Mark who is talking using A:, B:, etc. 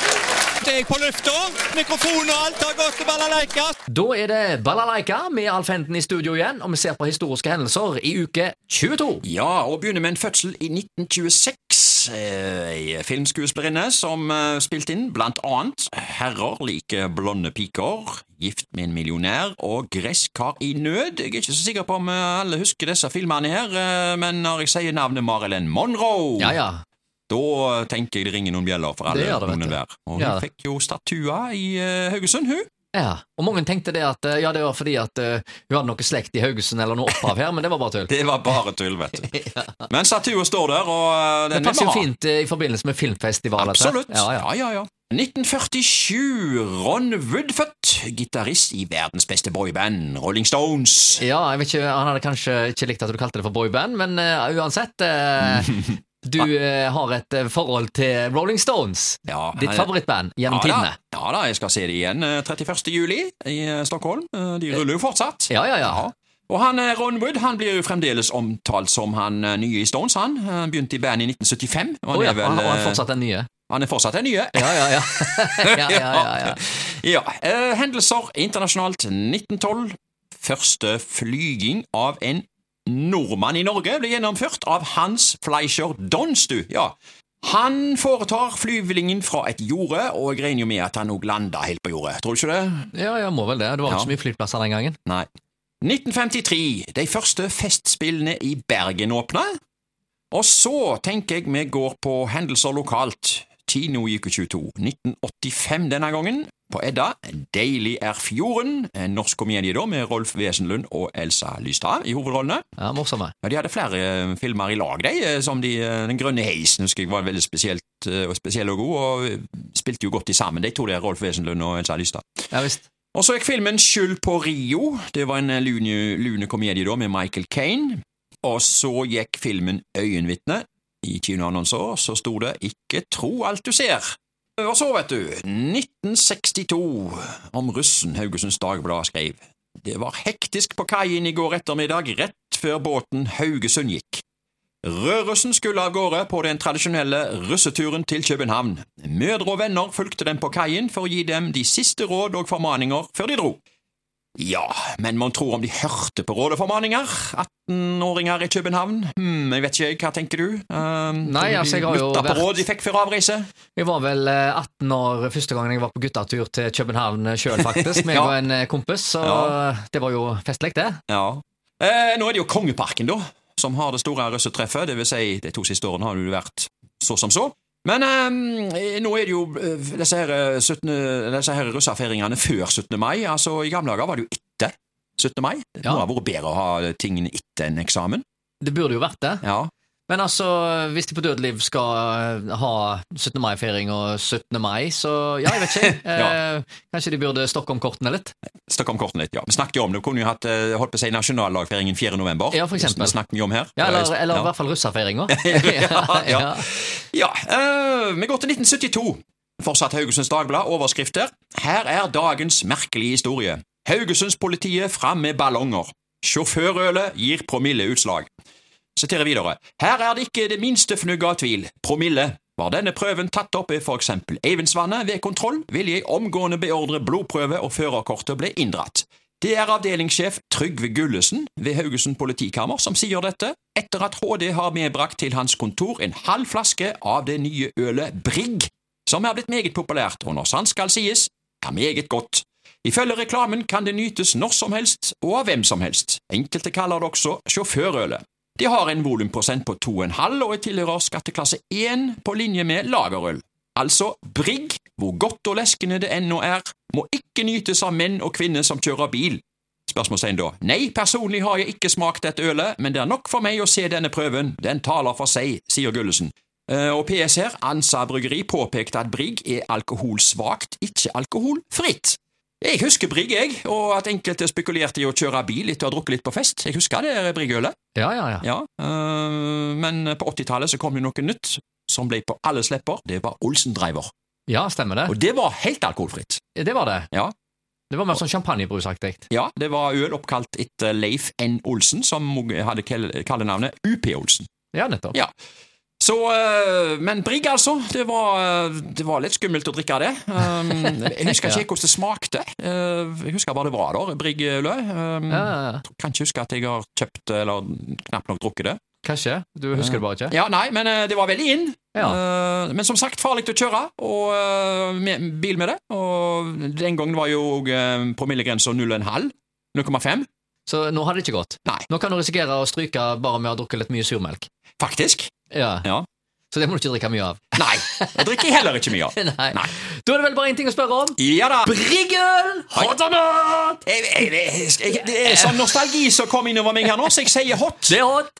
A: Snart er jeg på lufta. Mikrofon og alt har gått til balalaika.
B: Da er det Balalaika med Alf Henden i studio igjen, og vi ser på historiske hendelser i uke 22.
A: Ja, og begynner med en fødsel i 1926. eh, Ei filmskuespillerinne som eh, spilte inn blant annet Herrer liker blonde piker, Gift med en millionær og Gresskar i nød. Jeg er ikke så sikker på om eh, alle husker disse filmene her, eh, men når jeg sier navnet Marilyn Monroe,
B: Ja, ja.
A: da eh, tenker jeg det ringer noen bjeller for alle.
B: Det gjør det, vet
A: noen
B: du.
A: hver. Og hun
B: Ja.
A: fikk jo statua i eh, Haugesund, hun.
B: ja. Og mange tenkte det at eh, ja, det var fordi at eh, hun hadde noe slekt i Haugesund eller noe opphav her, men det var bare tull.
A: Det var bare tull, vet du. Men statua står der, og eh,
B: Det
A: den
B: passer
A: vil
B: jo
A: vi ha.
B: fint eh, i forbindelse med filmfestival. dette.
A: Absolutt.
B: Ja, ja.
A: ja, ja, ja. 1947. Ron Woodfett, gitarist i verdens beste boyband, Rolling Stones.
B: Ja, jeg vet ikke, Han hadde kanskje ikke likt at du kalte det for boyband, men eh, uansett eh, Du eh, har et eh, forhold til Rolling Stones,
A: Ja,
B: ditt
A: han-
B: favorittband gjennom
A: ja,
B: tidene.
A: da. ja da, jeg skal se det igjen eh, 31. juli i eh, Stockholm. Eh, De ruller jo fortsatt.
B: Ja, ja, ja.
A: Ja. Og han, eh, Ron Wood han blir jo fremdeles omtalt som han eh, nye i Stones. Han Han begynte i bandet i 1975. Og han,
B: Å ja,
A: er vel,
B: og han, og han
A: eh,
B: fortsatt den nye.
A: han er fortsatt den nye.
B: Ja, ja, ja. ja, ja, ja, ja.
A: Ja, eh, hendelser internasjonalt 1912. Første flyging av en nordmann i Norge ble gjennomført av Hans Fleischer Donstu. Ja. Han foretar flyvningen fra et jorde, og jeg regner jo med at han òg landa helt på jordet. Tror du ikke det?
B: ja, ja, må vel det. Det var
A: Ja.
B: ikke så mye flyplasser den gangen.
A: Nei. 1953. De første festspillene i Bergen åpna. Og så tenker jeg vi går på hendelser lokalt. Kino i uke 22. 1985 denne gangen. På Edda. 'Deilig er fjorden'. En norsk komedie da med Rolf Wesenlund og Elsa Lystad i hovedrollene.
B: Ja, Morsomme.
A: Ja, De hadde flere eh, filmer i lag, de. eh, Som de, eh, 'Den grønne heisen' husker jeg var veldig spesielt, eh, og spesiell og god. Og eh, spilte jo godt de sammen, de to der, Rolf Wesenlund og Elsa Lystad.
B: Ja visst.
A: Og så gikk filmen Skyld på Rio. Det var en eh, lune, lune komedie da med Michael Caine. Og så gikk filmen Øyenvitne. I kinoannonser så sto det Ikke tro alt du ser. Og så, vet du, 1962, om russen Haugesunds Dagblad skrev Det var hektisk på kaien i går ettermiddag, rett før båten Haugesund gikk. Rødrussen skulle av gårde på den tradisjonelle russeturen til København. Mødre og venner fulgte dem på kaien for å gi dem de siste råd og formaninger før de dro. Ja, men mon tro om de hørte på råd og formaninger? 18-åringer i København? Hm, jeg vet ikke, hva tenker du? Um,
B: Nei, altså, jeg har jo
A: Lytta
B: vært-
A: på råd de fikk før avreise?
B: Jeg var vel eh, 18 år første gangen jeg var på guttatur til København sjøl, faktisk. Med
A: Ja.
B: og en eh, kompis, så
A: Ja.
B: eh, det var jo festlig, det.
A: Ja. Eh, nå er det jo Kongeparken, da, som har det store russetreffet. Det vil si, de to siste årene har det jo vært så som så. Men eh, nå er det jo eh, disse her, eh, 17, disse her russefeiringene før 17. mai. Altså, I gamle dager var det jo etter 17. mai. Det
B: Ja.
A: må ha vært bedre å ha tingene etter en eksamen.
B: Det burde jo vært det.
A: Ja.
B: Men altså, hvis de på Dødeliv skal eh, ha 17. mai-feiring og 17. mai, så ja, jeg vet ikke.
A: Ja.
B: eh, kanskje de burde stokke om kortene litt?
A: Stakk om kortene litt, ja. Vi snakket jo om det. Vi kunne jo hatt eh, holdt på å si nasjonallagfeiringen 4. november.
B: Ja, for eksempel.
A: Det snakket vi om her.
B: Ja, eller,
A: Eh,
B: eller
A: ja.
B: i hvert fall russafeiringa.
A: Ja, ja. Ja, øh, vi går til 1972. Fortsatt Haugesunds Dagblad, overskrifter. Her er dagens merkelige historie. Haugesundspolitiet fram med ballonger. Sjåførølet gir promilleutslag. Siterer videre. Her er det ikke det minste fnugg av tvil. Promille. Var denne prøven tatt opp ved for eksempel Eivindsvannet ved kontroll, ville jeg omgående beordre blodprøve og førerkortet ble inndratt. Det er avdelingssjef Trygve Gullesen ved Haugesund politikammer som sier dette, etter at HD har medbrakt til hans kontor en halv flaske av det nye ølet Brigg, som er blitt meget populært, og når sant skal sies, er meget godt. Ifølge reklamen kan det nytes når som helst og av hvem som helst. Enkelte kaller det også sjåførølet. De har en volumprosent på 2,5 og tilhører skatteklasse 1 på linje med lagerøl. Altså brigg, hvor godt og leskende det ennå er, må ikke nytes av menn og kvinner som kjører bil. Spørsmålstegn da. Nei, personlig har jeg ikke smakt dette ølet, men det er nok for meg å se denne prøven, den taler for seg, sier Gullesen. Eh, Og PS her, Ansa Bryggeri påpekte at brigg er alkoholsvakt, ikke alkoholfritt. Jeg husker brigg, jeg, og at enkelte spekulerte i å kjøre bil etter å ha drukket litt på fest. Jeg husker det bryggølet.
B: ja, ja, ja.
A: Ja, øh, men på 80-tallet så kom jo noe nytt som ble på alles lepper. Det var Olsen Driver.
B: Ja, stemmer det.
A: Og det var helt alkoholfritt.
B: Det var det.
A: Ja.
B: Det var mer sånn champagnebrusaktig.
A: Ja, det var øl oppkalt etter Leif N. Olsen, som hadde kall- kallenavnet UP Olsen.
B: Ja, nettopp.
A: Ja. Så, eh, men Brigg, altså. Det var, eh, det var litt skummelt å drikke det. Um, jeg husker ikke hvordan det smakte. Eh, Jeg husker bare det var der, Brigg-løk. Um,
B: Ja, ja, ja.
A: Kan ikke huske at jeg har kjøpt eller knapt nok drukket det.
B: Kanskje. Du husker det bare ikke?
A: Ja, nei, men eh, det var veldig inn.
B: Ja.
A: Eh, men som sagt, farlig å kjøre, og eh, med, bil med det. Og den gangen var jo uh, promillegrensa 0,5. 0,5,
B: Så nå har det ikke gått.
A: Nei.
B: Nå kan du risikere å stryke bare med å ha drukket litt mye surmelk.
A: faktisk.
B: Ja.
A: Ja.
B: Så det må du ikke drikke mye av.
A: Nei, jeg drikker heller ikke mye av.
B: Nei.
A: Nei.
B: Da er det vel bare én ting å spørre om.
A: Ja da.
B: Briggen! Hot!
A: Jeg, jeg, jeg, jeg, det er sånn nostalgi som kom innover meg her nå, så jeg sier hot.
B: Det er hot.